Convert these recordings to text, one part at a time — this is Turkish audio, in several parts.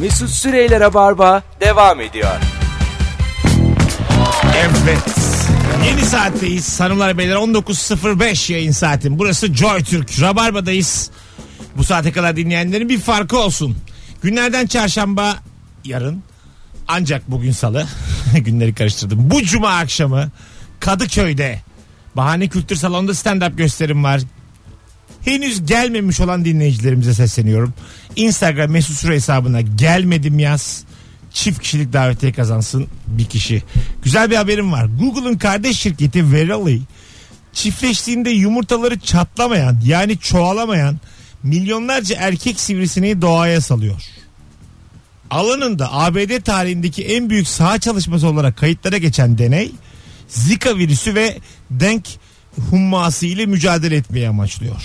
Mesut Süreyler'e barba devam ediyor. Evet. Yeni saatteyiz hanımlar beyler 19.05 yayın saatim. Burası Joy Türk. Rabarba'dayız. Bu saate kadar dinleyenlerin bir farkı olsun. Günlerden çarşamba yarın ancak bugün salı günleri karıştırdım. Bu cuma akşamı Kadıköy'de Bahane Kültür Salonu'nda stand-up gösterim var. Henüz gelmemiş olan dinleyicilerimize sesleniyorum. Instagram mesut süre hesabına gelmedim yaz. Çift kişilik davetiye kazansın bir kişi. Güzel bir haberim var. Google'ın kardeş şirketi Verily çiftleştiğinde yumurtaları çatlamayan yani çoğalamayan milyonlarca erkek sivrisineği doğaya salıyor. Alanında ABD tarihindeki en büyük saha çalışması olarak kayıtlara geçen deney Zika virüsü ve denk humması ile mücadele etmeyi amaçlıyor.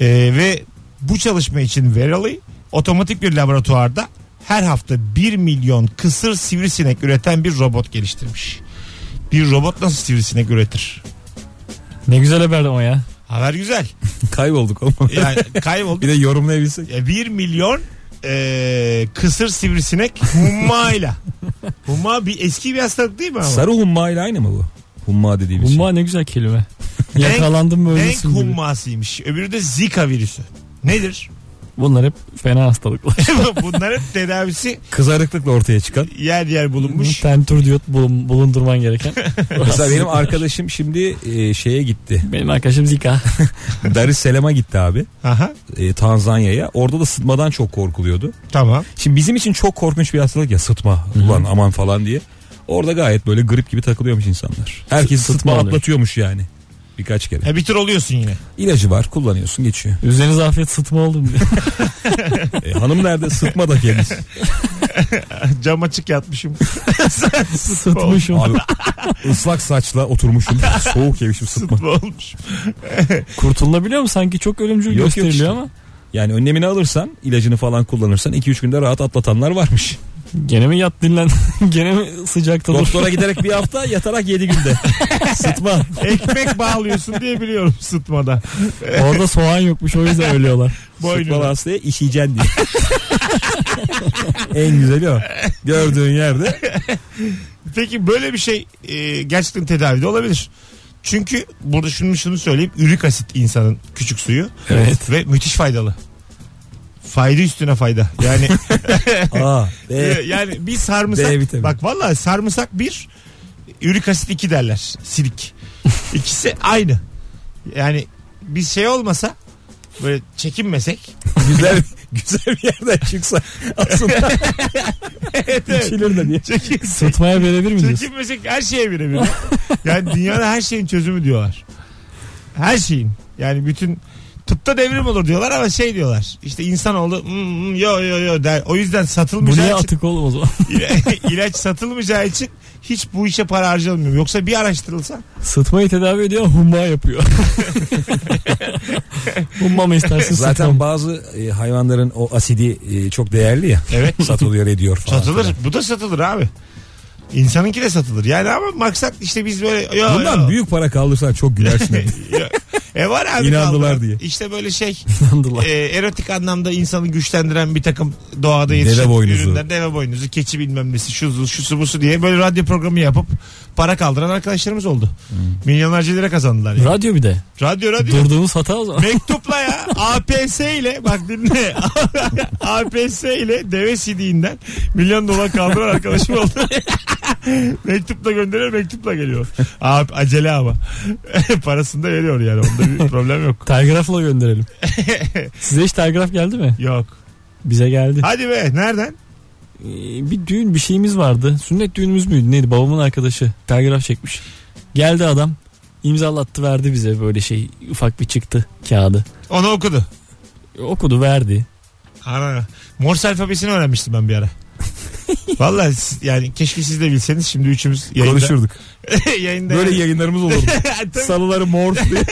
Ee, ve bu çalışma için Verily otomatik bir laboratuvarda her hafta 1 milyon kısır sivrisinek üreten bir robot geliştirmiş. Bir robot nasıl sivrisinek üretir? Ne güzel haber ama ya. Haber güzel. Kaybolduk oğlum. Yani kayboldu. Bir de yorumlayabilsek. Ya 1 milyon eee, kısır sivrisinek hummayla. Humma bir eski bir hastalık değil mi ama? Sarı humma ile aynı mı bu? Humma dediğimiz Humma ne güzel kelime. Denk- Yakalandım böyle. Denk hummasıymış. Öbürü de zika virüsü. Nedir? Bunlar hep fena hastalıklar. Bunların tedavisi şey. Kızarıklıkla ortaya çıkan. yer yer bulunmuş. Tentur diyot bulun- bulundurman gereken. Mesela benim arkadaşım şimdi e, şeye gitti. Benim arkadaşım Zika. Dar es Salaam'a gitti abi. Aha, E, Tanzanya'ya. Orada da sıtmadan çok korkuluyordu. tamam. Şimdi bizim için çok korkunç bir hastalık ya sıtma. Ulan aman falan diye. Orada gayet böyle grip gibi takılıyormuş insanlar. Herkes Sıtma sıtma, oluyor. atlatıyormuş yani. Birkaç kere. Ha, bir tür oluyorsun yine. İlacı var kullanıyorsun geçiyor. Üzeriniz afiyet sıtma oldum diye. E, hanım nerede sıtma da kendisi. Cam açık yatmışım. Sıtmışım. Abi ıslak saçla oturmuşum. Soğuk yemişim sıtma. Sıtma olmuş. Kurtulabiliyor mu? Sanki çok ölümcül Yok, yok gösteriliyor işte. ama. Yani önlemini alırsan ilacını falan kullanırsan 2-3 günde rahat atlatanlar varmış. Gene mi yat dinlen? Gene mi sıcakta dur? Doktora giderek bir hafta yatarak 7 günde. Sıtma. Ekmek bağlıyorsun diye biliyorum sıtmada. Orada soğan yokmuş o yüzden ölüyorlar. Sıtmalı Boynuna. hastaya işeyeceksin diye. en güzeli o. Gördüğün yerde. Peki böyle bir şey e, gerçekten tedavide olabilir. Çünkü burada şunu şunu söyleyeyim. Ürik asit insanın küçük suyu. Evet. Ve müthiş faydalı. Fayda üstüne fayda. Yani Aa, e, e, yani bir sarımsak. D vitamini. Bak vallahi sarımsak bir, ürik asit iki derler. Silik. İkisi aynı. Yani bir şey olmasa böyle çekinmesek. güzel, güzel bir yerden çıksa aslında Evet, evet. içilir de diye. Çekinsek. Sıtmaya verebilir mi diyorsun? Çekinmesek her şeye birebir. yani dünyada her şeyin çözümü diyorlar. Her şeyin. Yani bütün tıpta devrim olur diyorlar ama şey diyorlar. İşte insanoğlu "Hmm, hmm, yo yo yo der. O yüzden Bu niye satılmayacağı için atık oğlum o zaman? ilaç satılmayacağı için hiç bu işe para harcanmıyor. Yoksa bir araştırılsa Sıtmayı tedavi ediyor humma yapıyor. humma mı istersin sıtma Zaten mı? bazı e, hayvanların o asidi e, çok değerli ya. Evet. Satılıyor ediyor falan. satılır. Bu da satılır abi. İnsanınki de satılır. Yani ama maksat işte biz böyle yo, Bundan yo. büyük para kaldırsan çok gülersin. Yo. E var abi. İnandılar kaldı. diye. İşte böyle şey Sandılar. e, erotik anlamda insanı güçlendiren bir takım doğada yetişen Deve boynuzu. ürünler. Deve boynuzu, keçi bilmem nesi, şuzu, şusu busu diye böyle radyo programı yapıp para kaldıran arkadaşlarımız oldu. Hmm. Milyonlarca lira kazandılar. Yani. Radyo bir de. radyo radyo. Durduğumuz hata o zaman. Mektupla ya APS ile bak dinle APS ile deve sidiğinden milyon dolar kaldıran arkadaşım oldu. mektupla gönderiyor mektupla geliyor. A- acele ama. Parasını da veriyor yani onda bir problem yok. Telgrafla gönderelim. Size hiç telgraf geldi mi? Yok. Bize geldi. Hadi be nereden? Ee, bir düğün bir şeyimiz vardı. Sünnet düğünümüz müydü neydi? Babamın arkadaşı telgraf çekmiş. Geldi adam imzalattı verdi bize böyle şey ufak bir çıktı kağıdı. Onu okudu. Okudu verdi. Ana. Morse alfabesini öğrenmiştim ben bir ara. Vallahi siz- yani keşke siz de bilseniz şimdi üçümüz yayında. Konuşurduk. yayında Böyle yani. yayınlarımız olurdu. Tabii. Salıları mor diye.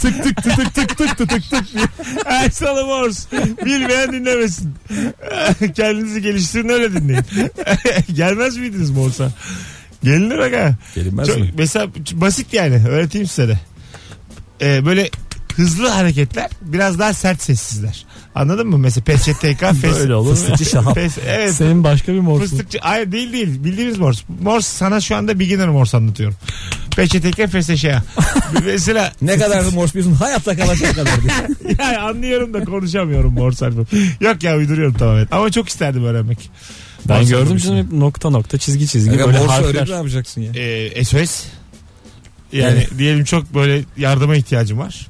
tık tık tık tık tık tık tık tık tık diye. Her salı Morse. Bilmeyen dinlemesin. Kendinizi geliştirin öyle dinleyin. Gelmez miydiniz Morse'a? Gelinir aga. Gelinmez Çok, mi? mesela basit yani öğreteyim size de. Ee, böyle hızlı hareketler biraz daha sert sessizler. Anladın mı? Mesela PES ÇTK fes, Böyle olur mu? fıstıkçı şahap. Fes- evet. Senin başka bir morsun. Fıstıkçı. Hayır değil değil. Bildiğimiz morse. Morse sana şu anda beginner morse anlatıyorum. PÇTK FSŞA. Mesela Ne kadar da morse biliyorsun hayatta kalacak kadar. diye. yani anlıyorum da konuşamıyorum morse harfi. Yok ya uyduruyorum tamamen. Ama çok isterdim öğrenmek. Ben Morse gördüm alfabesini. canım hep nokta nokta çizgi çizgi Aga, böyle morse öğrenip ne harfler. yapacaksın ya? Ee, SOS. Yani Evet. diyelim çok böyle yardıma ihtiyacım var.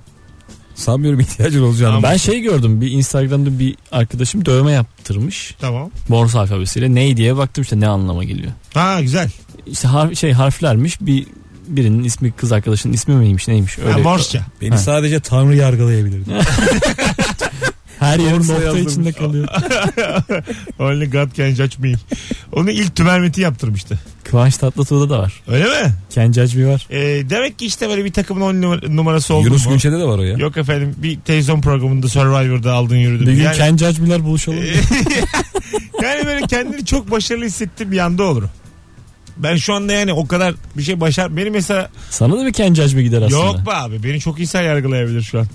Sanmıyorum ihtiyacın olacağını. Ama- Ben- Ben şey gördüm bir Instagram'da bir arkadaşım dövme yaptırmış. Tamam. Morse alfabesiyle ney diye baktım işte ne anlama geliyor. Ha güzel. İşte harf, şey harflermiş bir birinin ismi kız arkadaşının ismi miymiş neymiş öyle. Ha, Morse'ca. Beni Ha. sadece Tanrı yargılayabilirdi. Her yerin Morse nokta yazdırmış. içinde kalıyor. Only God can judge me. Onu ilk tümermeti yaptırmıştı. Kıvanç Tatlıtuğ'da da var. Öyle mi? Ken Judge mi var? Ee, demek ki işte böyle bir takımın on numara- numarası oldu Yunus mu? Günçe'de de var o ya. Yok efendim bir televizyon programında Survivor'da aldın yürüdün. Bir gün yani, Ken Judge'miler buluşalım. yani böyle kendini çok başarılı hissettiğim bir anda olur. Ben şu anda yani o kadar bir şey başar... Benim mesela... Sana da bir Ken Judge mi gider aslında? Yok be abi beni çok insan yargılayabilir şu an.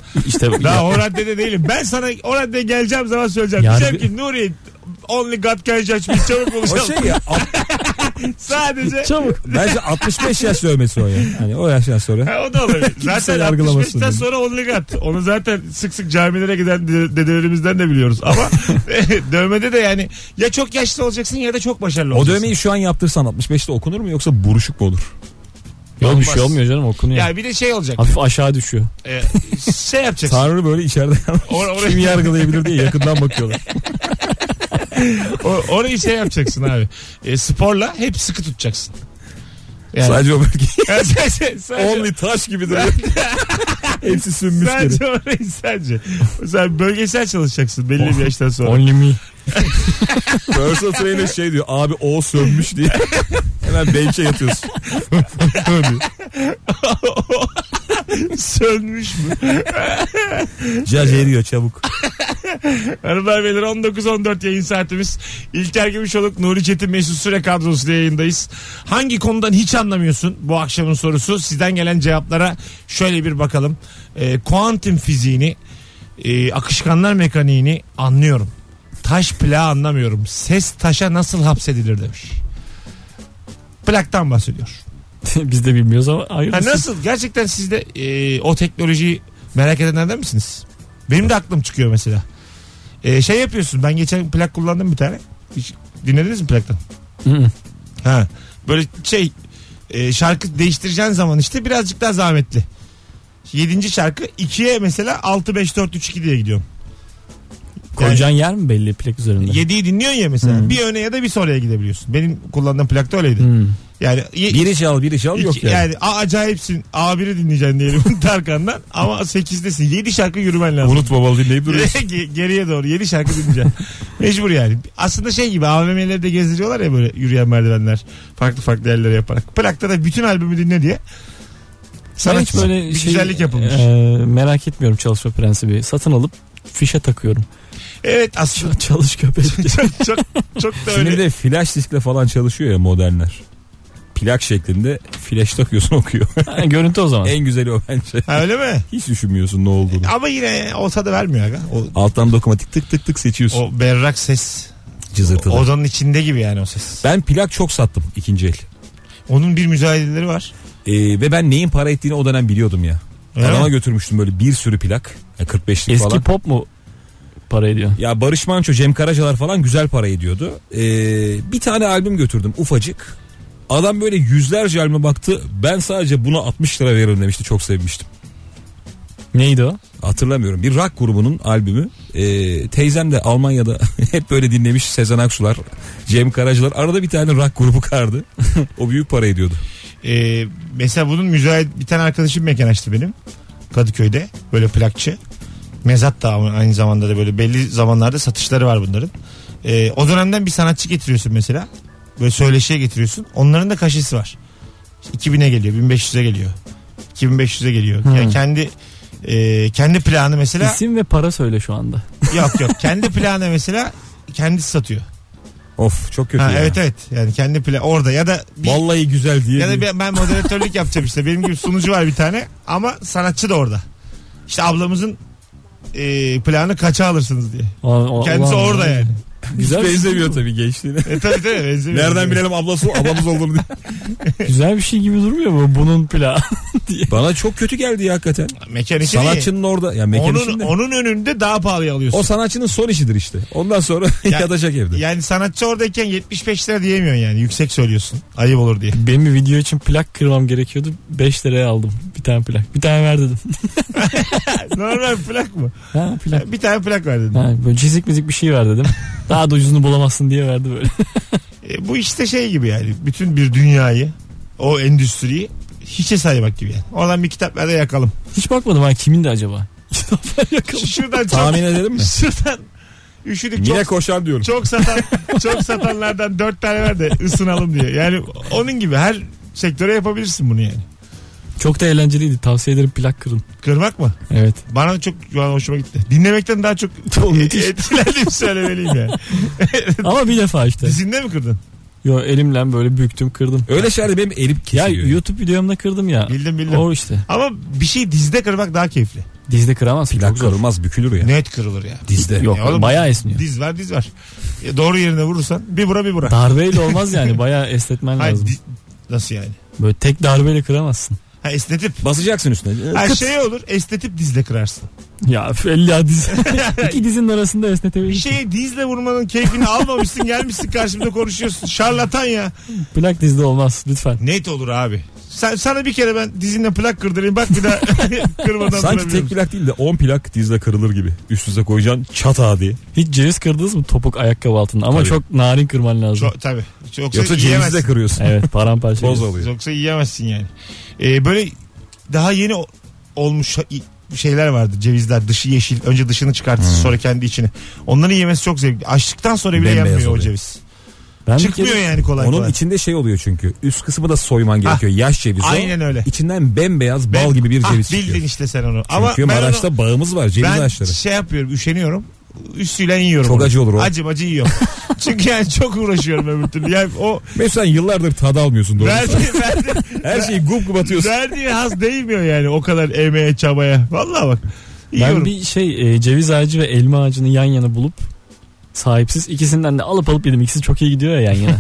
İşte Daha o raddede değilim. Ben sana o raddeye geleceğim zaman söyleyeceğim. Yargı- Diyeceğim ki Nuri only God can judge me. Çabuk O buluşalım. şey ya alt- Sadece... Çabuk. bence 65 yaş dövmesi o ya. Hani o yaştan sonra. Ha, o da olabilir. zaten yargılamasın 65'ten diye. sonra only God. Onu zaten sık sık camilere giden de- dedelerimizden de biliyoruz. Ama e, dövmede de yani ya çok yaşlı olacaksın ya da çok başarılı O olacaksın. dövmeyi şu an yaptırsan 65'te okunur mu yoksa buruşuk mu olur? Yok bir Olmaz. şey olmuyor canım okunuyor. Ya bir de şey olacak. Hafif aşağı düşüyor. e, şey yapacaksın. Tanrı böyle içeride Or- oraya- şey kim yargılayabilir diye yakından bakıyorlar. O- orayı şey yapacaksın abi. E, sporla hep sıkı tutacaksın. Yani, Sadece o bölge. sadece, sadece, Only taş gibi duruyor. Hepsi sünmüş gibi. sadece orayı sadece. Sen bölgesel çalışacaksın belli bir yaştan sonra. Only me. Personal trainer şey diyor abi o sönmüş diye. Hemen bench'e yatıyorsun. Sönmüş mü? Judge eriyor şey çabuk. Hanımlar beyler 19-14 yayın saatimiz. İlker Gümüşoluk, Nuri Çetin Mesut Süre kadrosuyla yayındayız. Hangi konudan hiç anlamıyorsun bu akşamın sorusu? Sizden gelen cevaplara şöyle bir bakalım. Ee, kuantum fiziğini, e, akışkanlar mekaniğini anlıyorum. Taş plağı anlamıyorum. Ses taşa nasıl hapsedilir demiş. Plaktan bahsediyor. Biz de bilmiyoruz ama Ha, hayırlısı. nasıl? Gerçekten siz de e, o teknolojiyi merak edenlerden misiniz? Benim de aklım çıkıyor mesela. E, şey yapıyorsun. Ben geçen plak kullandım bir tane. Hiç dinlediniz mi plaktan? Hı hı. Ha. Böyle şey e, şarkı değiştireceğin zaman işte birazcık daha zahmetli. 7. şarkı 2'ye mesela 6 5 4 3 2 diye gidiyorsun. Koyacağın yer mi belli plak üzerinde? 7'yi dinliyorsun ya mesela. Bir öne ya da bir sonraya gidebiliyorsun. Benim kullandığım plakta öyleydi. Hmm. Yani ye- Biri çal biri çal İki- yok yani. yani. a- acayipsin. A1'i dinleyeceksin diyelim Tarkan'dan. Ama 8'desin. 7 şarkı yürümen lazım. Unutma balı dinleyip duruyorsun. Ge- Geriye doğru 7 şarkı dinleyeceksin. Mecbur yani. Aslında şey gibi AVM'lerde gezdiriyorlar ya böyle yürüyen merdivenler. Farklı farklı yerlere yaparak. Plakta da bütün albümü dinle diye. Ben Sana hiç böyle bir şey, güzellik yapılmış. e, merak etmiyorum çalışma prensibi. Satın alıp fişe takıyorum. Evet aslında Ç- Çalış köpek. çok, çok, çok da Şimdi bir öyle. de flash diskle falan çalışıyor ya modernler. Plak şeklinde flash takıyorsun okuyor. Ha, Görüntü o zaman. en güzeli o bence. Ha, öyle mi? Hiç düşünmüyorsun ne olduğunu. Ama yine o tadı vermiyor. Aga. O, Alttan dokunmatik tık tık tık seçiyorsun. o berrak ses. cızırtıda. Odanın içinde gibi yani o ses. Ben plak çok sattım ikinci el. Onun bir mücadeleleri var. Ee, ve ben neyin para ettiğini o dönem biliyordum ya. Öyle Adama mi? götürmüştüm böyle bir sürü plak. Ya 45'lik Eski falan. pop mu para ediyor? Ya Barış Manço, Cem Karacalar falan güzel para ediyordu. Ee, bir tane albüm götürdüm ufacık. Adam böyle yüzlerce albüme baktı. Ben sadece buna 60 lira veririm demişti. Çok sevmiştim. Neydi o? Hatırlamıyorum. Bir rock grubunun albümü. Ee, teyzem de Almanya'da hep böyle dinlemiş Sezen Aksular, Cem Karacalar. Arada bir tane rock grubu kardı. o büyük para ediyordu. Ee, mesela bunun müzayit bir tane arkadaşım mekan açtı benim. Kadıköy'de böyle plakçı. Mezat da ama aynı zamanda da böyle belli zamanlarda satışları var bunların. Ee, o dönemden bir sanatçı getiriyorsun mesela. Böyle söyleşiye getiriyorsun. Onların da kaşesi var. İşte 2000'e geliyor, 1500'e geliyor. 2500'e geliyor. Hmm. Yani kendi e, kendi planı mesela İsim ve para söyle şu anda. yok yok. Kendi planı mesela kendisi satıyor. Of çok kötü Ha, ya. evet evet. Yani kendi plan orada ya da bir Vallahi güzel diye. Ya da diye. ben- ben moderatörlük yapacağım işte. Benim gibi sunucu var bir tane ama sanatçı da orada. İşte ablamızın e, planı kaça alırsınız diye. Ulan- ulan- Kendisi ulan- orada yani. Güzel, bir- şey. Benzemiyor şey tabii gençliğine. E tabii tabii. benzemiyor. Nereden bilelim ablası ablamız olduğunu diye. güzel bir şey gibi durmuyor mu bunun plağı? Bana çok kötü geldi ya hakikaten. Mekanik Sanatçının Sanatçının orada. Ya Şey, onun, mekanisinin de- onun önünde daha pahalıya alıyorsun. O sanatçının son işidir işte. Ondan sonra Ya- yatacak evde. Yani sanatçı oradayken 75 lira diyemiyorsun yani. Yüksek söylüyorsun. Ayıp olur diye. Benim bir video için plak kırmam gerekiyordu. 5 liraya aldım bir tane plak. Bir tane ver dedim. Normal plak mı? Ha plak. Bir tane plak ver dedim. Ha, böyle çizik müzik bir şey ver dedim. Daha da ucuzunu bulamazsın diye verdi böyle. E, bu işte şey gibi yani. Bütün bir dünyayı, o endüstriyi hiçe saymak gibi yani. Oradan bir kitaplarda yakalım. Hiç bakmadım ha kimin de acaba? Şu- Şuradan çok, Tahmin edelim mi? şuradan üşüdük çok Yine koşar diyorum. çok satan çok satanlardan dört tane ver de ısınalım diye. Yani onun gibi her sektöre yapabilirsin bunu yani. Çok da eğlenceliydi. Tavsiye ederim plak kırın. Kırmak mı? Evet. Bana çok şu an hoşuma gitti. Dinlemekten daha çok e, etkilendiğimi söylemeliyim yani. Ama bir defa işte. Dizinde mi kırdın? Yo elimle böyle büktüm kırdım. Öyle şey şeylerde benim elim Ya kesiliyor. YouTube videomda kırdım ya. Bildim bildim. O işte. Ama bir şey dizde kırmak daha keyifli. Dizde kıramazsın. Plak Çok zor. kırılmaz bükülür ya. Net kırılır ya. Dizde. Yok Ya oğlum- bayağı esniyor. Diz var diz var. E, doğru yerine vurursan bir bura bir bura. Darbeyle olmaz yani. Bayağı esnetmen Hayır, lazım. di- nasıl yani? Böyle tek darbeyle kıramazsın. Ha, esnetip. Basacaksın üstüne. Ha, Kıt. şey olur esnetip dizle kırarsın. Ya illa diz. İki dizin arasında Bir esnetebilirsin. şeye dizle vurmanın keyfini almamışsın gelmişsin karşımda konuşuyorsun. Şarlatan ya. Plak dizde olmaz lütfen. Net olur abi. Sen, sana bir kere ben dizinle plak kırdırayım bak bir daha kırmadan Sanki tek plak değil de 10 plak dizle kırılır gibi. Üst üste koyacaksın çata Şey, diye. Hiç ceviz kırdınız mı topuk ayakkabı altında? Ama Tabii. çok narin kırman lazım. Çok, tabii. Yoksa, Yoksa cevizi yiyemezsin. de kırıyorsun. Evet paramparça. Boz ceviz. oluyor. Yoksa yiyemezsin yani. Ee, böyle daha yeni o- olmuş ha- i- şeyler vardı. Cevizler dışı yeşil. Önce dışını çıkartırsın Hmm. sonra kendi içini. Onların yemesi çok zevkli. Açtıktan sonra bile Bembeyaz yenmiyor o oluyor. ceviz. Ben bir Çıkmıyor kere- yani kolay Onun kolay. içinde şey oluyor çünkü. Üst kısmı da soyman gerekiyor. Yaş ceviz o. Ah, Aynen öyle. İçinden bembeyaz bal Ben- gibi bir Ah, ceviz Bildin çıkıyor. işte sen onu. Ama Çünkü ben, Maraş'ta onu- bağımız var ceviz ben ağaçları. şey yapıyorum üşeniyorum. Üstüyle yiyorum. Çok onu. acı olur o. Acım acı yiyorum. Çünkü yani çok uğraşıyorum öbür türlü. Yani o Mesut sen yıllardır tadı almıyorsun doğru. verdiği, verdiği, Her şeyi gup gup atıyorsun. verdiği haz değmiyor yani o kadar emeğe çabaya. Vallahi bak. Yiyorum. Ben bir şey e, ceviz ağacı ve elma ağacını yan yana bulup sahipsiz ikisinden de alıp alıp yedim. İkisi çok iyi gidiyor ya yan yana.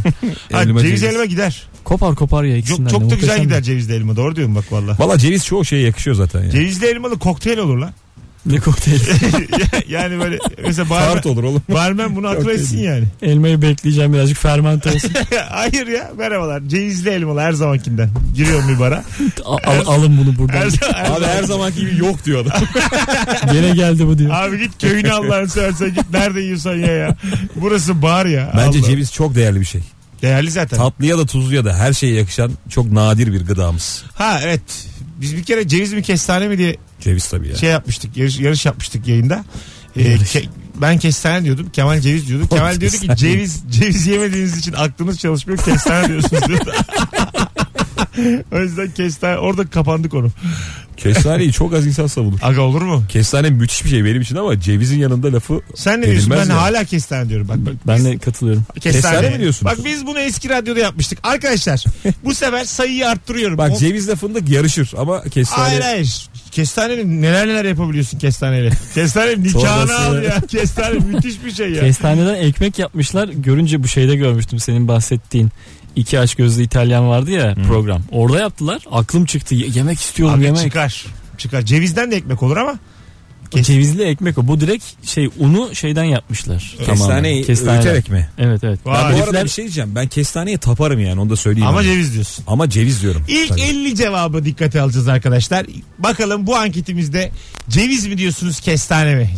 Ha, Elma ceviz ceviz. elma gider. kopar kopar ya ikisinden Çok, de. çok da güzel Muhteşem. gider cevizli elma. Doğru diyorum bak valla. Valla ceviz çoğu şeye yakışıyor zaten. Yani. Cevizli elmalı kokteyl olur lan. Ne kokteyl. yani böyle mesela barmen, Tart olur oğlum. barmen bunu akıl Kokteyl etsin değil. yani. Elmayı bekleyeceğim birazcık fermente olsun. Hayır ya merhabalar. Cevizli elmalı her zamankinden. Giriyorum bir bara. Al- al- alın bunu Her, buradan. her, Abi her zamanki gibi yok diyor adam. Gene geldi bu diyor. Abi git köyüne Allah'ını seversen git. Nerede yiyorsan ya ya. Burası bar ya. Bence Allah. ceviz çok değerli bir şey. Değerli zaten. Tatlıya da tuzluya da her şeye yakışan çok nadir bir gıdamız. Ha evet. Biz bir kere ceviz mi kestane mi diye Ceviz tabii ya. şey yapmıştık. Yarış, yarış yapmıştık yayında. Ee, Yarış. ke- ben kestane diyordum. Kemal ceviz diyordu. Kemal diyordu ki kestane. ceviz ceviz yemediğiniz için aklınız çalışmıyor. Kestane diyorsunuz diyordu. o yüzden kestane orada kapandı konu. Kestaneyi çok az insan savunur. Aga olur mu? Kestane müthiş bir şey benim için ama cevizin yanında lafı Sen ne diyorsun? Ben Edilmez yani. hala kestane diyorum. Bak, bak Ben de katılıyorum. kestane mi diyorsunuz? Bak biz bunu eski radyoda yapmıştık. Arkadaşlar bu sefer sayıyı arttırıyorum. Bak O- cevizle fındık yarışır ama kestane Hayır hayır. Kestanenin neler neler yapabiliyorsun kestaneyle. Kestane nikahını Çorbası. al ya. Kestane müthiş bir şey ya. Kestaneden ekmek yapmışlar. Görünce bu şeyde görmüştüm senin bahsettiğin. iki aç gözlü İtalyan vardı ya program. Orada yaptılar. Aklım çıktı. Ye- yemek istiyorum Abi yemek. çıkar. Çıkar. Cevizden de ekmek olur ama kes- Cevizli ekmek o. Bu direkt şey unu şeyden yapmışlar. kestaneyi Tamamen. Kestane. öğüterek mi? Evet evet. Vay. Ben bu arada Herifler- bir şey diyeceğim. Ben kestaneye taparım yani onu da söyleyeyim. ama Ama, ceviz diyorsun. ama ceviz diyorum. İlk Tabii. 50 cevabı dikkate alacağız arkadaşlar. Bakalım bu anketimizde ceviz mi diyorsunuz kestane mi?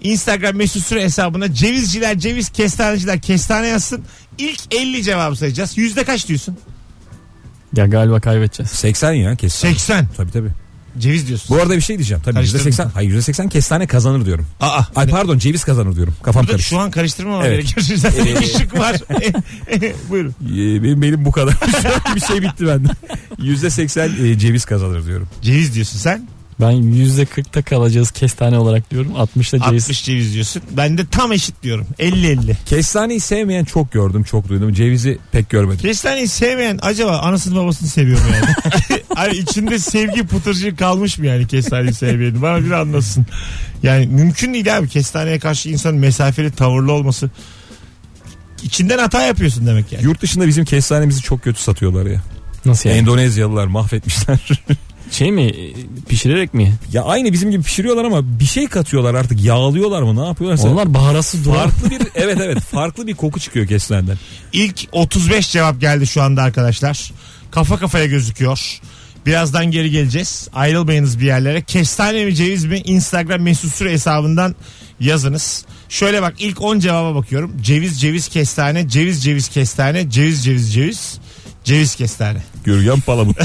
Instagram mesut süre hesabına cevizciler, ceviz kestaneciler kestane yazsın. İlk 50 cevabı sayacağız. Yüzde kaç diyorsun? Ya galiba kaybedeceğiz. 80 ya kestane. 80. Tabii tabii. Ceviz diyorsun. Bu arada bir şey diyeceğim. Tabii Karıştırdın. %80. Hayır %80 kestane kazanır diyorum. Aa, Ay pardon ceviz kazanır diyorum. Kafam Burada karıştı. şu an karıştırmamam Evet. Ee, gerekiyor. Zaten Evet. ışık var. Buyurun. Ee, benim, benim bu kadar. bir şey bitti bende. %80 e, ceviz kazanır diyorum. Ceviz diyorsun sen. Ben yüzde kırkta kalacağız kestane olarak diyorum. 60'ta ceviz. 60 ceviz diyorsun. Ben de tam eşit diyorum. 50-50. Kestaneyi sevmeyen çok gördüm çok duydum. Cevizi pek görmedim. Kestaneyi sevmeyen acaba anasını babasını seviyor mu yani? Hani içinde sevgi pıtırcığı kalmış mı yani kestaneyi sevmeyenin? Bana bir anlatsın. Yani mümkün değil abi kestaneye karşı insanın mesafeli tavırlı olması. İçinden hata yapıyorsun demek yani. Yurt dışında bizim kestanemizi çok kötü satıyorlar ya. Nasıl yani? Endonezyalılar mahvetmişler. Şey mi e, pişirerek mi? ya aynı bizim gibi pişiriyorlar ama bir şey katıyorlar artık yağlıyorlar mı ne yapıyorlarsa. Onlar baharatsız duvar. Farklı bir evet evet farklı bir koku çıkıyor kestaneden. İlk 35 cevap geldi şu anda arkadaşlar. Kafa kafaya gözüküyor. Birazdan geri geleceğiz. Ayrılmayınız bir yerlere. Kestane mi ceviz mi? Instagram mesut süre hesabından yazınız. Şöyle bak ilk 10 cevaba bakıyorum. Ceviz ceviz kestane, ceviz ceviz kestane, ceviz ceviz ceviz, ceviz kestane. Gürgen palamut.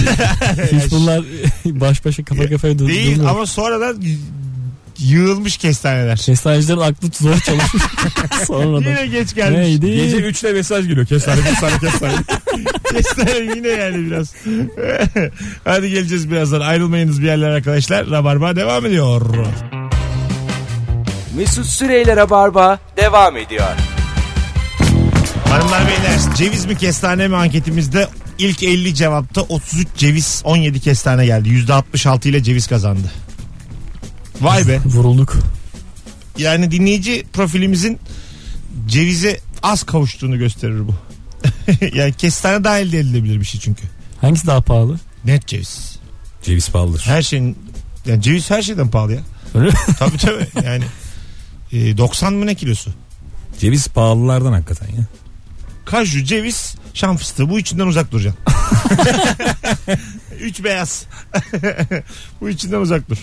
Hiç bunlar baş başa kafa kafaya dur- Değil durmuyor. ama sonradan y- yığılmış kestaneler. Kestanecilerin aklı zor çalışmış. Sonradan. Yine geç gelmiş. Neydi? Gece 3'te mesaj geliyor kestane kestane kestane. Kestane yine yani biraz. Hadi geleceğiz birazdan. Ayrılmayınız bir yerlere arkadaşlar. Rabarba devam ediyor. Mesut Süreyler'e barba devam ediyor. Hanımlar beyler ceviz mi kestane mi anketimizde ilk 50 cevapta 33 ceviz 17 kestane geldi. %66 ile ceviz kazandı. Vay be. Vurulduk. Yani dinleyici profilimizin cevize az kavuştuğunu gösterir bu. yani kestane daha elde edilebilir bir şey çünkü. Hangisi daha pahalı? Net ceviz. Ceviz pahalıdır. Her şeyin yani ceviz her şeyden pahalı ya. Öyle mi? tabii tabii yani e, 90 mı ne kilosu? Ceviz pahalılardan hakikaten ya. Kaju, ceviz, şan fıstığı. Bu üçünden uzak duracaksın. Üç beyaz. Bu üçünden uzak dur.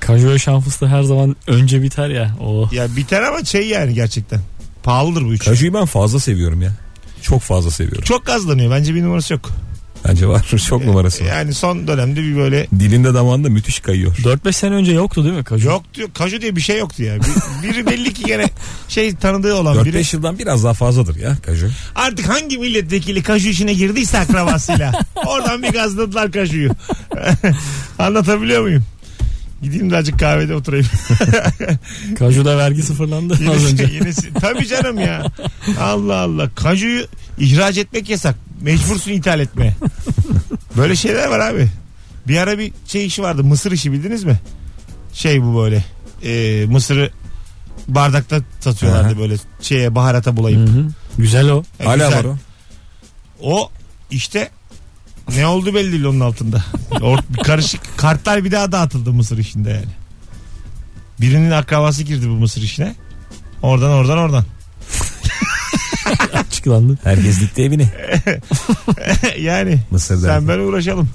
Kaju ve şan fıstığı her zaman önce biter ya. Oh. Ya biter ama şey yani gerçekten. Pahalıdır bu üç. Kaju'yu ben fazla seviyorum ya. Çok fazla seviyorum. Çok gazlanıyor. Bence bir numarası yok. Bence var. Çok numarası var. Yani son dönemde bir böyle Dilinde damağında müthiş kayıyor. 4-5 sene önce yoktu değil mi kaju? yok diyor. Kaju diye bir şey yoktu ya. Bir- biri belli ki gene şey tanıdığı olan biri. 4-5 yıldan biraz daha fazladır ya kaju. Artık hangi milletvekili kaju işine girdiyse akrabasıyla. Oradan bir gazladılar kajuyu. Anlatabiliyor muyum? Gideyim de azıcık kahvede oturayım. Kaju'da vergi sıfırlandı az Yenisi, önce. yenisi. Tabii canım ya. Allah Allah. Kaju'yu ihraç etmek yasak. Mecbursun ithal etmeye. Böyle şeyler var abi. Bir ara bir şey işi vardı. Mısır işi bildiniz mi? Şey bu böyle. Ee, mısırı bardakta satıyorlardı Aha. böyle şeye baharata bulayıp. Hı hı. Güzel o. E, Hala güzel. var o. O işte ne oldu belli değil onun altında. Or- karışık kartlar bir daha dağıtıldı Mısır işinde yani. Birinin akrabası girdi bu Mısır işine. Oradan oradan oradan. Açıklandı. Herkes dikti evini. yani Mısır'da. sen ben uğraşalım.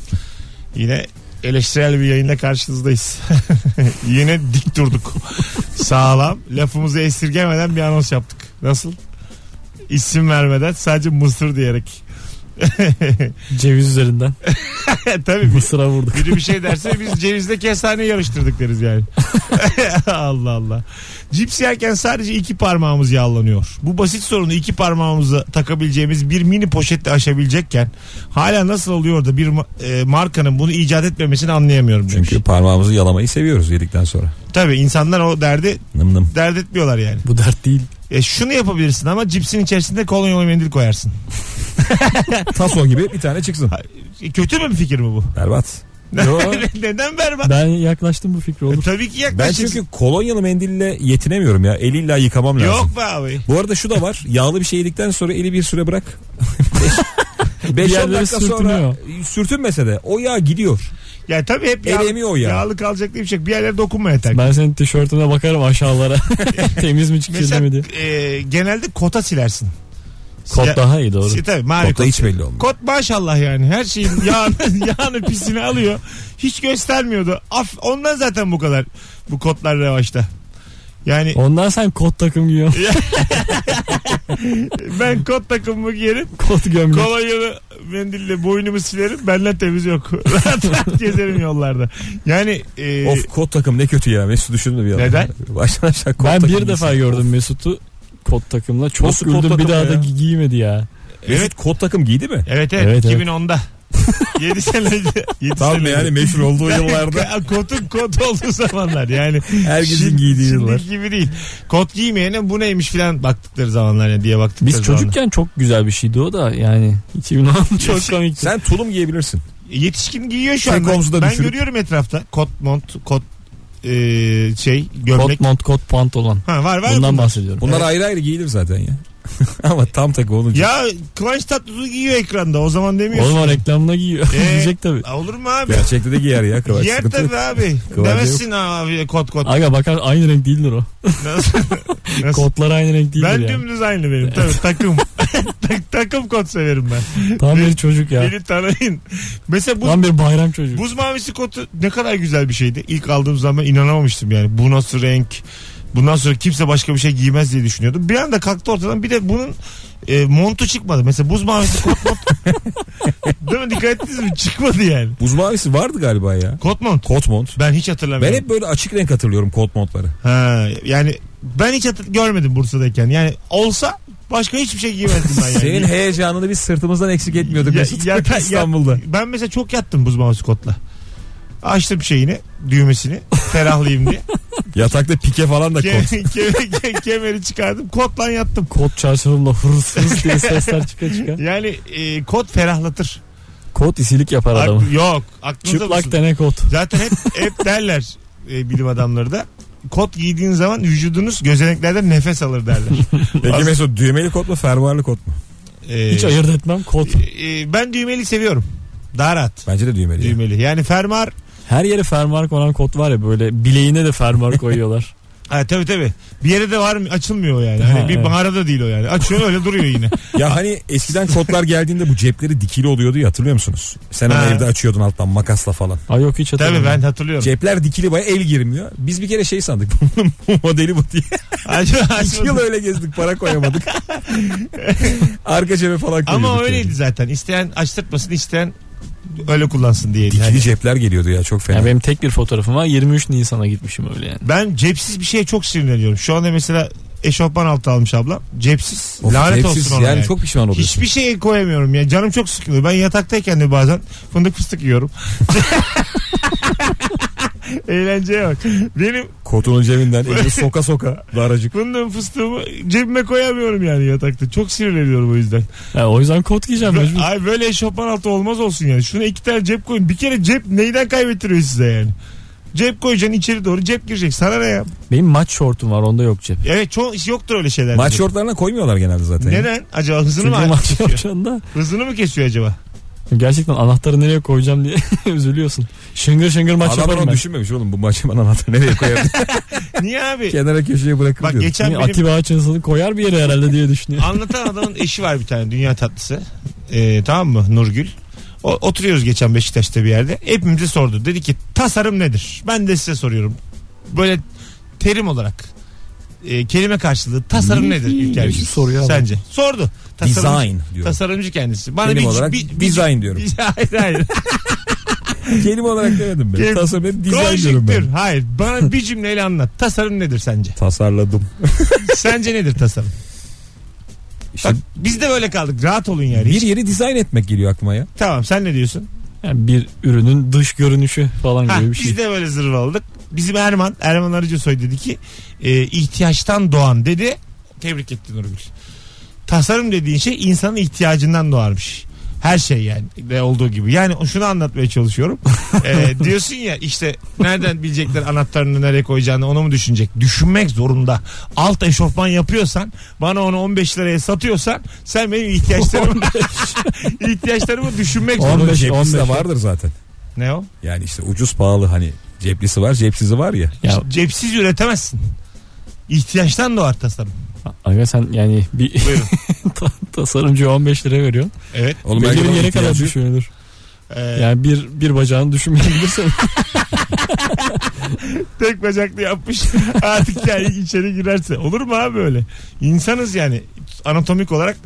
Yine eleştirel bir yayınla karşınızdayız. Yine dik durduk. Sağlam. Lafımızı esirgemeden bir anons yaptık. Nasıl? İsim vermeden sadece Mısır diyerek. Ceviz üzerinden. Tabii bir- Mısır'a vurduk. biri bir şey derse biz cevizle kestane yarıştırdık deriz yani. Allah Allah. Cips yerken sadece iki parmağımız yağlanıyor. Bu basit sorunu iki parmağımıza takabileceğimiz bir mini poşetle aşabilecekken hala nasıl oluyor da bir ma- e, markanın bunu icat etmemesini anlayamıyorum demiş. Çünkü parmağımızı yalamayı seviyoruz yedikten sonra. Tabii insanlar o derdi Nım nım. dert etmiyorlar yani. Bu dert değil. E, şunu yapabilirsin ama cipsin içerisinde kolonyalı mendil koyarsın. Taso gibi bir tane çıksın. E, kötü mü bir fikir mi bu? Berbat. Yo. Neden berbat? Ben yaklaştım bu fikre E, olur. tabii ki Ben yaklaşık. çünkü kolonyalı mendille yetinemiyorum ya. Eli illa yıkamam lazım. Yok be abi. Bu arada şu da var. Yağlı bir şey yedikten sonra eli bir süre bırak. 5 yerleri dakika sonra sürtünüyor. sürtünmese de o yağ gidiyor. Ya tabii hep El yağ- emiyor o yağ. Yağlı kalacak diye bir şey yok. Bir yerlere dokunma yeter. Ben senin tişörtüne bakarım aşağılara. Temiz mi çıkıyor mi diye. Mesela e, genelde kota silersin. Kot daha iyi doğru. Si- tabii mavi Çok da kot. hiç belli olmuyor. Kot maşallah yani her şeyin yağını, yağını pisini alıyor. Hiç göstermiyordu. Af, ondan zaten bu kadar bu kotlar revaçta. Yani Ondan sen kot takım giyiyorsun. ben kot takımımı giyerim. Kot gömlek. Kolonyalı mendille boynumu silerim. Benden temiz yok. Rahat rahat gezerim yollarda. Yani e, Of kot takım ne kötü ya. Mesut düşündü bir anda. Neden? Baştan aşağı kot ben takım bir defa giysin. gördüm Mesut'u kot takımla. Çok Nasıl kot güldüm bir takımla daha da ya? gi- giymedi ya. Mesut kot takım giydi mi? evet evet, Evet, evet. 2010'da. 7 sene önce. 7 Tam yani meşhur olduğu yıllarda. Ka- Kotun kot olduğu zamanlar yani. Herkesin Şimdi- giydiği yıllar. Şimdiki gibi değil. Kot giymeyene bu neymiş filan baktıkları zamanlar yani diye baktıkları Biz zamanlar. çocukken çok güzel bir şeydi o da yani. 2010 çok komikti. Sen tulum giyebilirsin. Yetişkin giyiyor şu an. Tek omzu da Ben, ben düşürüp. görüyorum etrafta. Kot mont, kot e, şey gömlek. Kot mont kot pantolon. Ha var var. Bundan bunlar. bahsediyorum. Bunlar ayrı ayrı giyilir zaten ya. Ama tam takı olunca. Ya Kıvanç Tatlıtuğ giyiyor ekranda. O zaman O demiyorsun. zaman reklamına giyiyor. Ee, Diyecek tabii. Aa, Olur mu abi? Gerçekte de giyer ya Kıvanç. Yer Sıkıntı yok. tabii abi. Kıvanç Demezsin abi kot kot. Aga bakar aynı renk değildir o. Nasıl? Nasıl? Kotlar aynı renk değildir ben yani. dümdüz aynı benim. Tabii takım. Tak- takım kot severim ben. Tam bir çocuk ya. Beni tanıyın. Mesela bu Tam bir bayram çocuğu. Buz mavisi kotu ne kadar güzel bir şeydi. İlk aldığım zaman inanamamıştım yani. Bu nasıl renk? Bundan sonra kimse başka bir şey giymez diye düşünüyordum. Bir anda kalktı ortadan. Bir de bunun e, montu çıkmadı. Mesela buz mavisi kot mont. Değil mi? Dikkat ettiniz mi? Çıkmadı yani. Buz mavisi vardı galiba ya. Kot mont. Kot mont. Ben hiç Ben hatırlamıyorum. hep böyle açık renk hatırlıyorum kot montları. Ha, yani ben hiç hatır- görmedim Bursa'dayken. Yani olsa başka hiçbir şey giymezdim ben yani. Senin heyecanını biz sırtımızdan eksik etmiyorduk Ya- Mesut. ya- ya- İstanbul'da. Ben mesela çok yattım buz mavisi kotla. Açtım şeyini, düğmesini. Ferahlayayım diye. Yatakta pike falan da Ke- kot. ke- ke- kemeri çıkardım. Kotla yattım. Kot çarşafımla hırıs hırıs diye sesler çıka çıka. Yani e, kot ferahlatır. Kot isilik yapar Ak- adamı. yok. Aklınızda Çıplak bulunsun. tene kot. Zaten hep, hep derler e, bilim adamları da. Kot giydiğin zaman vücudunuz gözeneklerden nefes alır derler. Peki Mesut düğmeli kot mu fermuarlı kot mu? E, Hiç ayırt etmem kot. e, ben düğmeli seviyorum. Daha rahat. Bence de düğmeli. ya. Düğmeli. Yani fermuar. Her yere fermuar konan kot var ya böyle bileğine de fermuar koyuyorlar. Ha, tabii tabii. Bir yere de var mı? Açılmıyor yani. Ha, Hani bir evet. mağarada değil o yani. Açıyor öyle duruyor yine. Ya hani eskiden kotlar geldiğinde bu cepleri dikili oluyordu ya hatırlıyor musunuz? Sen onu Ha. evde açıyordun alttan makasla falan. Ay yok hiç tabii hatırlamıyorum. ben hatırlıyorum. Cepler dikili baya el girmiyor. Biz bir kere şey sandık bunun modeli bu diye. Acaba İki yıl öyle gezdik para koyamadık. Arka cebe falan koyuyorduk. Ama yani. öyleydi zaten. İsteyen açtırtmasın, isteyen öyle kullansın diye. Dikili Yani cepler geliyordu ya çok fena. Yani benim tek bir fotoğrafım var. 23 Nisan'a gitmişim öyle yani. Ben cepsiz bir şeye çok sinirleniyorum. Şu anda mesela eşofman altı almış ablam. Cepsiz. Of, Lanet zevksiz. olsun ona. yani. Yani çok pişman oluyorsun. Hiçbir şey koyamıyorum ya. Canım çok sıkılıyor. Ben yataktayken de bazen fındık fıstık yiyorum. Eğlenceye bak. Benim Kotunun cebinden elini soka soka daracık. fındığım fıstığımı cebime koyamıyorum yani yatakta. Çok sinirleniyorum o yüzden. Ha, o yüzden kot giyeceğim mecbur. Ay böyle eşofman altı olmaz olsun yani. Şuna iki tane cep koyun. Bir kere cep neyden kaybettiriyor size yani? Cep koyacaksın içeri doğru cep girecek. Sana ne ya? Benim maç şortum var onda yok cep. Evet çoğu iş yoktur öyle şeyler. Maç şortlarına koymuyorlar genelde zaten. Neden? Acaba hızını Çünkü mı maç kesiyor? şortunda Hızını mı kesiyor acaba? gerçekten anahtarı nereye koyacağım diye üzülüyorsun. Şıngır şıngır maç Adam yaparım onu ben. düşünmemiş oğlum bu maçı bana anahtar nereye koyar? Niye abi? Kenara köşeye bırakır Bak diyor. geçen Hani benim Atiba Hutchinson'ı koyar bir yere herhalde diye düşünüyor. anlatan adamın eşi var bir tane dünya tatlısı. Ee, tamam mı? Nurgül. O, oturuyoruz geçen Beşiktaş'ta bir yerde. Hepimize sordu. Dedi ki tasarım nedir? Ben de size soruyorum. Böyle terim olarak e, kelime karşılığı Hmm. tasarım nedir İlker? Bir soruya bak. Sence? Sordu. Tasarımcı- Design diyor. Tasarımcı kendisi. Bana Benim bir, olarak bir, bir- design diyorum. hayır hayır. Kelime olarak demedim ben. Kelime- Tasarım hep dizayn diyorum Konjüktür. ben. Hayır. Bana bir cümleyle anlat. Tasarım nedir sence? Tasarladım. Sence nedir tasarım? İşte Bak, biz de böyle kaldık. Rahat olun yani. bir Hiç- yeri dizayn etmek geliyor aklıma ya. Tamam sen ne diyorsun? Yani bir ürünün dış görünüşü falan Ha, gibi bir biz şey. de böyle zırva olduk. Bizim Erman, Erman Arıcısoy dedi ki e, ihtiyaçtan doğan dedi. Tebrik etti Nurgül. Tasarım dediğin şey insanın ihtiyacından doğarmış. Her şey yani de olduğu gibi. Yani şunu anlatmaya çalışıyorum. E, diyorsun ya işte nereden bilecekler anahtarını nereye koyacağını onu mu düşünecek? Düşünmek zorunda. Alt eşofman yapıyorsan bana onu 15 liraya satıyorsan sen benim ihtiyaçlarımı, ihtiyaçlarımı düşünmek zorunda. 15, Ceplisi de 15. vardır zaten. Ne o? Yani işte ucuz pahalı hani ceplisi var cepsizi var ya. Ya Cepsiz üretemezsin. İhtiyaçtan doğar tasarım. aga sen yani bir Buyurun. ta- tasarımcıya 15 lira veriyorsun. Evet. Oğlum Belli belki bir bana yere kadar ihtiyacı yok. düşünülür. Ee, Yani bir, bir bacağını düşünmeyebilirsin. Tek bacaklı yapmış. Artık yani içeri girerse. Olur mu abi öyle? İnsanız yani. Anatomik olarak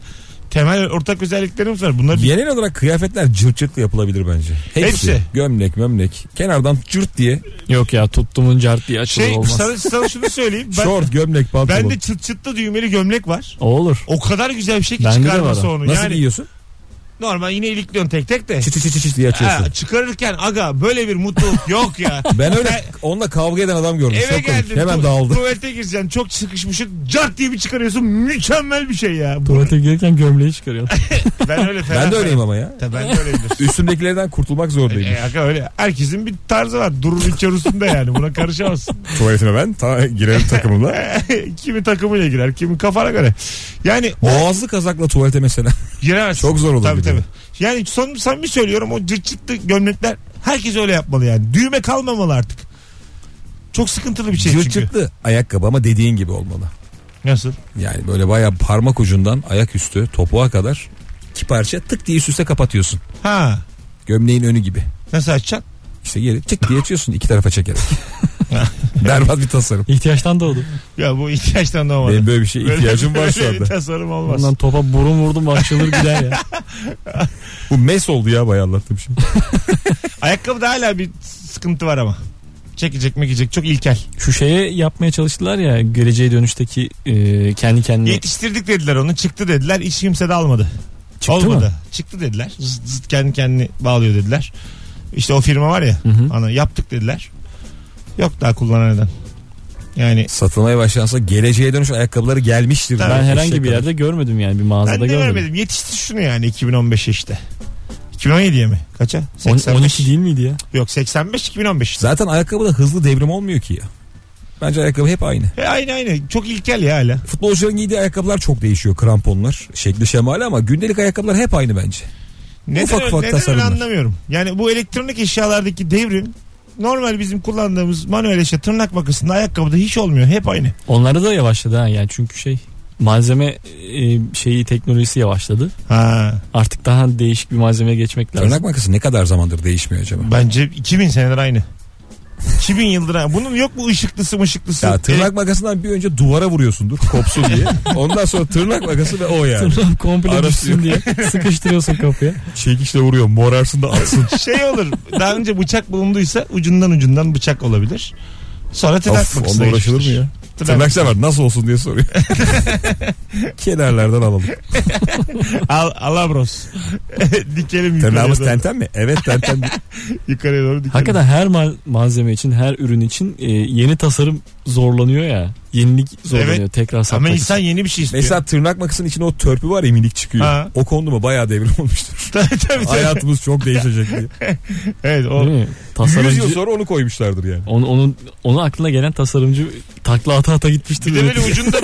temel ortak özelliklerimiz var. Bunlar Genel olarak kıyafetler cırt cırtlı yapılabilir bence. Hepsi. Hepsi. Gömlek mömlek. Kenardan cırt diye. Yok ya tuttumun cart diye açılır şey olmaz. sana, sana şunu söyleyeyim. Ben, Şort gömlek pantolon. ben de çıt çıtlı düğmeli gömlek var. O olur. O kadar güzel bir şey ki Bende de var çıkarması o. onu. Nasıl yani giyiyorsun? Normal yine ilikliyorsun tek tek de. Çıt çıt çıt çıt diye açıyorsun. Ha, çıkarırken aga böyle bir mutluluk yok ya. Ben öyle onunla kavga eden adam gördüm. Eve Çok komik. geldin. Hemen tu- dağıldı. Tuvalete gireceksin. Çok sıkışmışsın. Cart diye bir çıkarıyorsun. Mükemmel bir şey ya. Bu- Tuvalete girerken gömleği çıkarıyorsun. Ben öyle fena. Ben de öyleyim ama ya. Tabii ben de öyleyimdir. Üstümdekilerden kurtulmak zordayım. E, aga öyle. Herkesin bir tarzı var. Durur içerisinde yani. Buna karışamazsın. Tuvaletime ben ta girerim takımımla. kimi takımıyla girer, kimi kafana göre. Yani Boğazlı kazakla tuvalete mesela. giremezsin. Çok zor olur Tabii bir de. tabii. Yani son, samimi söylüyorum o cırt cırtlı gömlekler herkes öyle yapmalı yani. Düğme kalmamalı artık. Çok sıkıntılı bir şey çünkü. Cırcıklı ayakkabı ama dediğin gibi olmalı. Nasıl? Yani böyle bayağı parmak ucundan ayak üstü topuğa kadar iki parça tık diye üst üste kapatıyorsun. Ha. Gömleğin önü gibi. Nasıl açacaksın? İşte gelip tık diye açıyorsun iki tarafa çekerek. Berbat bir tasarım. İhtiyaçtan doğdu. Ya bu ihtiyaçtan doğmadı. Benim böyle bir şeye ihtiyacım var şu Böyle bir şey. anda. tasarım olmaz. Ondan topa burun vurdum açılır gider ya. Bu mes oldu ya bayağı anlattığım şey. Ayakkabıda hala bir sıkıntı var ama. Çekecek mekecek çok ilkel. Şu şeye yapmaya çalıştılar ya geleceğe dönüşteki e, kendi kendine Yetiştirdik dediler onu çıktı dediler hiç kimse de almadı. çıktı Olmadı. mı? Çıktı dediler. Zıt zıt kendi kendini bağlıyor dediler. İşte o firma var ya. Hı hı. Ana yaptık dediler. Yok daha kullanan neden. Yani Satılmaya başlansa geleceğe dönüş ayakkabıları gelmiştir. Tabii. diye. Ben herhangi Eşek bir kadar. yerde görmedim yani bir ben mağazada de görmedim. vermedim. Yetişti şunu yani 2015'e işte. 2017'ye mi? Kaça? On- 85. 12 değil miydi ya? Yok 85 2015. işte. Zaten ayakkabıda hızlı devrim olmuyor ki ya. Bence ayakkabı hep aynı. E, aynı aynı. Çok ilkel ya hala. Futbolcuların giydiği ayakkabılar çok değişiyor. Kramponlar, şekli şemali ama gündelik ayakkabılar hep aynı bence. Neden, Ufak ufak neden öyle tasarımlar. anlamıyorum. Yani bu elektronik eşyalardaki devrim normal bizim kullandığımız manuel eşya tırnak makasında ayakkabıda hiç olmuyor. Hep aynı. Onlara da yavaşladı ha yani çünkü şey malzeme e, şeyi teknolojisi yavaşladı. Ha, Artık daha değişik bir malzemeye geçmek lazım. Tırnak makası ne kadar zamandır değişmiyor acaba? bence 2000 senedir aynı. 2000 yıldır aynı. Bunun yok mu ışıklısı mışıklısı? Ya tırnak makasından bir önce duvara vuruyorsundur kopsun diye. Ondan sonra tırnak makası ve o yani. Tırnak komple Arası düşsün diye sıkıştırıyorsun kapıya. Çekişle vuruyor morarsın da atsın. E, şey olur. Daha önce bıçak bulunduysa ucundan ucundan bıçak olabilir. Sonra tırnak of makasına onunla uğraşılır mı geçmiştir. ya? Tırnak. Tırnak sever nasıl olsun diye soruyor. Kenarlardan alalım. Al, alabros. dikelim yukarıya Tırnağımız doğru. tenten mi? Evet tenten. Yukarıya doğru dikelim. Hakikaten her mal- malzeme için, her ürün için e, yeni tasarım zorlanıyor ya. Yenilik zorlanıyor Evet. tekrar Ama satmak için. insan yeni bir şey istiyor. Mesela tırnak makasının içinde o törpü var ya minik çıkıyor. Ha. O kondu mu bayağı devrim olmuştur. tabii, tabii, tabii. Hayatımız çok değişecek diye. Evet, o, Değil mi? 100 yıl Tasarımcı sonra onu koymuşlardır yani. onu, onun, onu aklına gelen tasarımcı takla ata ata gitmiştir. Bir de böyle üretici. ucunda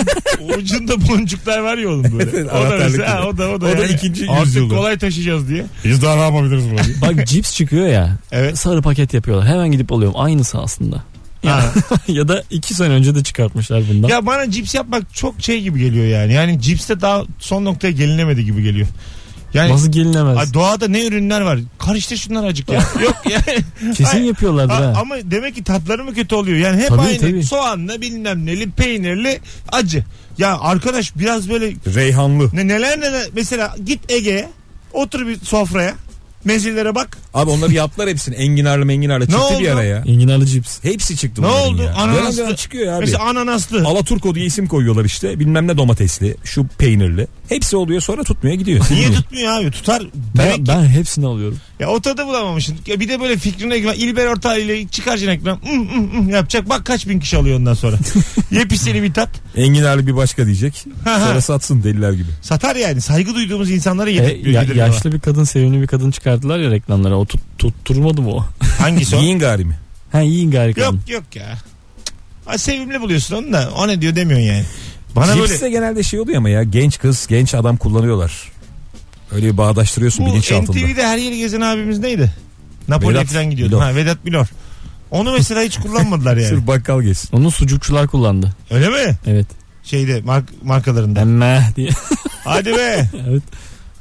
ucunda boncuklar var ya oğlum böyle. Evet, o da anahtarlık mesela, gibi. o da o da. O da yani ikinci Artık yüzyılı. kolay taşıyacağız diye. Biz daha ne yapabiliriz bunu? Bak cips çıkıyor ya. Evet. Sarı paket yapıyorlar. Hemen gidip alıyorum. Aynısı aslında. Ha. ya da iki sene önce de çıkartmışlar bundan. ya bana cips yapmak çok şey gibi geliyor yani. Yani cipste daha son noktaya gelinemedi gibi geliyor. Yani Nasıl gelinemez? ay, doğada ne ürünler var? Karıştır şunlar acık ya. Yok yani. Kesin ay- yapıyorlardır A- ha. ama demek ki tatları mı kötü oluyor? Yani hep Tabii, aynı tabii. soğanla bilmem neli peynirli acı. Ya arkadaş biraz böyle Reyhanlı. ne, neler neler mesela git Ege'ye otur bir sofraya mezelere bak Abi onları yaptılar hepsini. Enginarlı menginarlı Ne çıktı bir oldu? ara ya. Enginarlı cips. Hepsi çıktı Ne bunların oldu? ya. Ananaslı. Dönem dönem çıkıyor ya abi. Mesela ananaslı. Alaturko diye isim koyuyorlar işte. Bilmem ne domatesli, şu peynirli. Hepsi oluyor sonra tutmuyor gidiyor. Niye Silmiyor. tutmuyor abi? Tutar. Demek Ben, ki- ben hepsini alıyorum. Ya o tadı bulamamışsın. Ya bir de böyle fikrine güven. İlber Ortaylı ile çıkaracaksın ekran. Mm, mm, mm yapacak. Bak kaç bin kişi alıyor ondan sonra. Yepyeni bir tat. Enginarlı bir başka diyecek. Sonra satsın deliler gibi. Satar yani. Saygı duyduğumuz insanlara E, ya- yedirtiyor. E, yaşlı bir kadın, sevimli bir kadın çıkardılar ya reklamlara. O tut, tutturmadı mı o? Hangisi o? Yiyin gari mi? ha yiyin gari yok kadın. yok ya. Ay, sevimli buluyorsun onu da. O ne diyor demiyorsun yani. Bana Cips böyle de genelde şey oluyor ama ya genç kız genç adam kullanıyorlar. Öyle bir bağdaştırıyorsun bu bilinçaltında. NTV'de her yeri gezen abimiz neydi? Napoli'ye Vedat falan gidiyordu. Milor. Ha, Vedat Milor. Onu mesela hiç kullanmadılar yani. Sırf bakkal geçsin. Onu sucukçular kullandı. Öyle mi? Evet. Şeyde mark- markalarında. Emme diye. Hadi be. evet.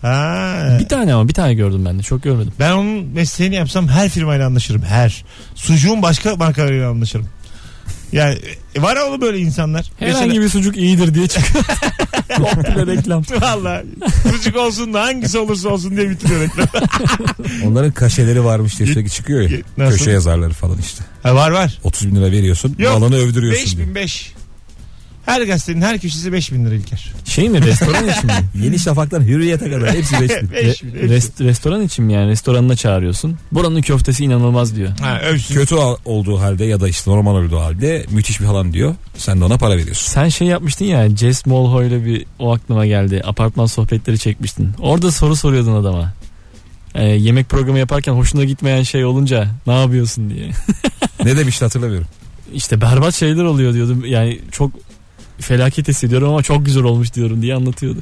Ha. Bir tane ama bir tane gördüm ben de. Çok görmedim. Ben onun mesleğini yapsam her firmayla anlaşırım. Her. Sucuğun başka markalarıyla anlaşırım. Yani e, var oğlum böyle insanlar. Herhangi bir sucuk iyidir diye çıkıyor. Komple reklam. Mesela, valla sucuk olsun da hangisi olursa olsun diye bitiriyor reklam. Onların kaşeleri varmış diye Yet- sürekli çıkıyor ya. yet- nasıl? Köşe yazarları falan işte. Ha, var var. 30 bin lira veriyorsun. Yok. Malanı övdürüyorsun. diye. 5005. Her gazetenin her köşesi 5000 lira İlker. Şey mi restoran için mi? Yeni Şafak'tan Hürriyet'e kadar hepsi beşli. Beş bin, Re- rest- restoran için mi yani? Restoranına çağırıyorsun. Buranın köftesi inanılmaz diyor. Ha, övsün. Kötü al- olduğu halde ya da işte normal olduğu halde müthiş bir falan diyor. Sen de ona para veriyorsun. Sen şey yapmıştın ya Jess Molho ile bir o aklıma geldi. Apartman sohbetleri çekmiştin. Orada soru soruyordun adama. Ee, yemek programı yaparken hoşuna gitmeyen şey olunca ne yapıyorsun diye. Ne demişti hatırlamıyorum. İşte berbat şeyler oluyor diyordum. Yani çok felaket hissediyorum ama çok güzel olmuş diyorum diye anlatıyordu.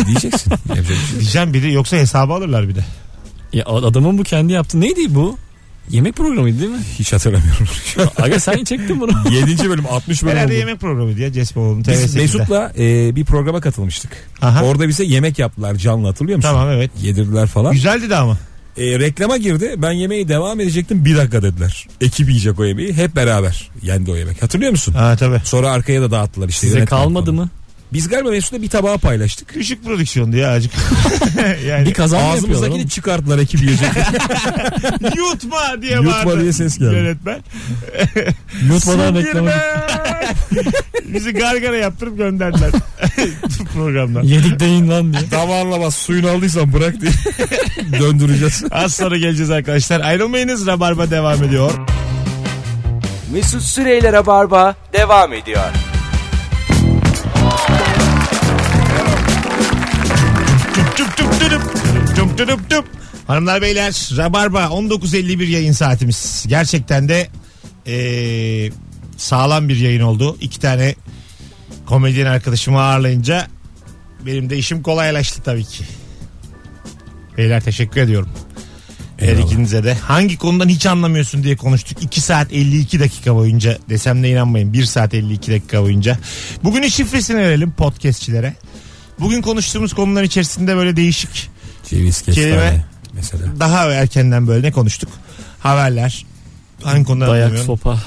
E, diyeceksin. Yapacak bir şey yok. Diyeceğim biri yoksa hesabı alırlar bir de. Ya adamın bu kendi yaptı. Neydi bu? Yemek programıydı değil mi? Hiç hatırlamıyorum. Aga sen çektin bunu. 7. bölüm 60 bölüm Herhalde oldu. yemek programı diye Cespoğlu'nun Biz TV8'de. Mesut'la e, bir programa katılmıştık. Aha. Orada bize yemek yaptılar canlı hatırlıyor musun? Tamam evet. Yedirdiler falan. Güzeldi de ama. E, reklama girdi. Ben yemeği devam edecektim. Bir dakika dediler. Ekip yiyecek o yemeği. Hep beraber yendi o yemek. Hatırlıyor musun? Ha tabii. Sonra arkaya da dağıttılar işte. Size yönetmen kalmadı falan. mı? Biz galiba Mesut'la bir tabağa paylaştık. Küçük prodüksiyondu ya acık. yani Bir kazan mı yapıyorlar? Ağzımızdakini oğlum? çıkarttılar ekip yiyecek. yutma diye Yutma bağırdı. diye ses geldi. Yönetmen. Yutmadan reklamı. Bizi gargara yaptırıp gönderdiler. Programdan. Yedik deyin lan diye. Damağınla bas suyunu aldıysan bırak diye. Döndüreceğiz. Az sonra geleceğiz arkadaşlar. Ayrılmayınız. Rabarba devam ediyor. Mesut Süreyler'e barba devam ediyor. Tüp tüp tüp tüdüp. Tüp tüp tüdüp tüp. Hanımlar beyler Rabarba 19.51 yayın saatimiz. Gerçekten de eee, sağlam bir yayın oldu. İki tane komedyen arkadaşımı ağırlayınca benim de işim kolaylaştı tabii ki. Beyler teşekkür ediyorum. Her Eyvallah. ikinize de. Hangi konudan hiç anlamıyorsun diye konuştuk. 2 saat 52 dakika boyunca desem de inanmayın. 1 saat 52 dakika boyunca. Bugünün şifresini verelim podcastçilere. Bugün konuştuğumuz konular içerisinde böyle değişik Ceviz kestane Kelime. mesela. daha erkenden böyle ne konuştuk? Haberler. Hangi konuda Dayak anlamıyorum? sopa.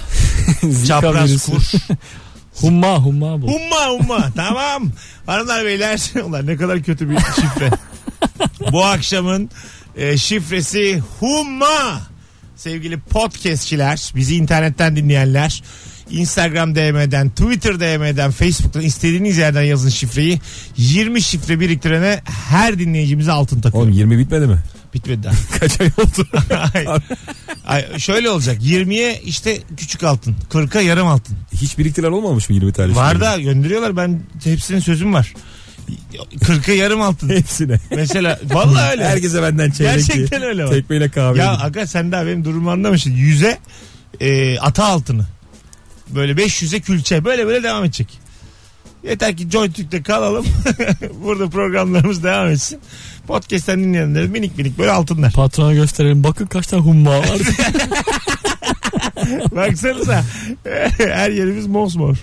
Zika Çapraz virüsü. kur. Humma humma bu. Umma umma tamam. Hanımlar beyler. Ulan ne kadar kötü bir şifre. Bu akşamın e, şifresi humma. Sevgili podcastçiler, bizi internetten dinleyenler, Instagram DM'den, Twitter DM'den, Facebook'tan istediğiniz yerden yazın şifreyi. 20 şifre biriktirene her dinleyicimize altın takıyor. Oğlum 20 bitmedi mi? Bitmedi daha. Kaç ay oldu? Ay, ay, şöyle olacak. 20'ye işte küçük altın. 40'a yarım altın. Hiç biriktiren olmamış mı 20 tane? Var şimdi? da gönderiyorlar. Ben hepsinin sözüm var. 40'a yarım altın. Hepsine. Mesela vallahi öyle. Herkese benden çeyrek. Gerçekten öyle var. Tekmeyle kahve. Ya Ya, aga sen daha benim durumu anlamışsın. 100'e e, ata altını. Böyle 500'e külçe. Böyle böyle devam edecek. Yeter ki JoyTürk'te kalalım. Burada programlarımız devam etsin. Podcast'ten dinleyenlere minik minik böyle altınlar. Patrona gösterelim. Bakın kaç tane humma var. Baksanıza. Her yerimiz mosmor.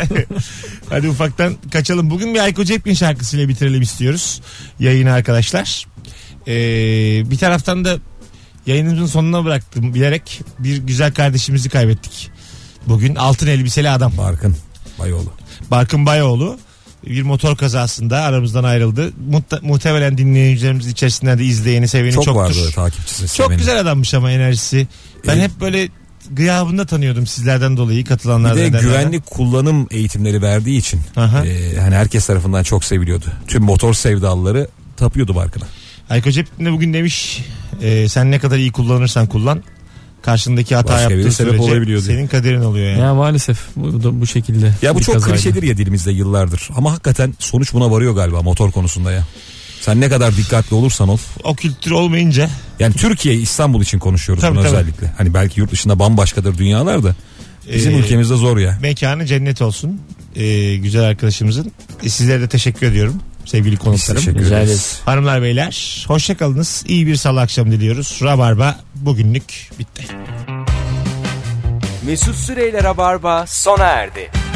Hadi ufaktan kaçalım. Bugün bir Ayko Cepkin şarkısıyla bitirelim istiyoruz. Yayını arkadaşlar. Ee, bir taraftan da yayınımızın sonuna bıraktım bilerek bir güzel kardeşimizi kaybettik. Bugün altın elbiseli adam Barkın Bayoğlu. Barkın Bayoğlu bir motor kazasında aramızdan ayrıldı. Muhte- muhtemelen dinleyicilerimiz içerisinden de izleyeni seveni Çok, çoktur. vardı takipçisi. Çok seveni. güzel adammış ama enerjisi. Ben Ee, hep böyle gıyabında tanıyordum sizlerden dolayı Bir katılanlardan. de edenlerden. güvenlik kullanım eğitimleri verdiği için Aha. e, hani herkes tarafından çok seviliyordu. Tüm motor sevdalıları tapıyordu Barkın'a. Ayko Cepkin de bugün demiş e, sen ne kadar iyi kullanırsan kullan karşındaki hata Başka yaptığı biri sebep sürece olabiliyor diye. senin kaderin oluyor yani. ya maalesef bu, da bu şekilde. Ya bu bir çok kazaydı. klişedir ya dilimizde yıllardır. Ama hakikaten sonuç buna varıyor galiba motor konusunda ya. Sen ne kadar dikkatli olursan ol. O kültür olmayınca Yani Türkiye İstanbul için konuşuyoruz Tabii, bunu tabii. özellikle. Hani belki yurt dışında bambaşkadır dünyalar da. Bizim e, ülkemizde zor ya. mekanı cennet olsun e, güzel arkadaşımızın. E, sizlere de teşekkür ediyorum sevgili Biz konuklarım. teşekkür Rica ederiz. ederiz. Hanımlar beyler hoşçakalınız. İyi bir salı akşamı diliyoruz. Rabarba bugünlük bitti. Mesut Süreyler'e barba sona erdi.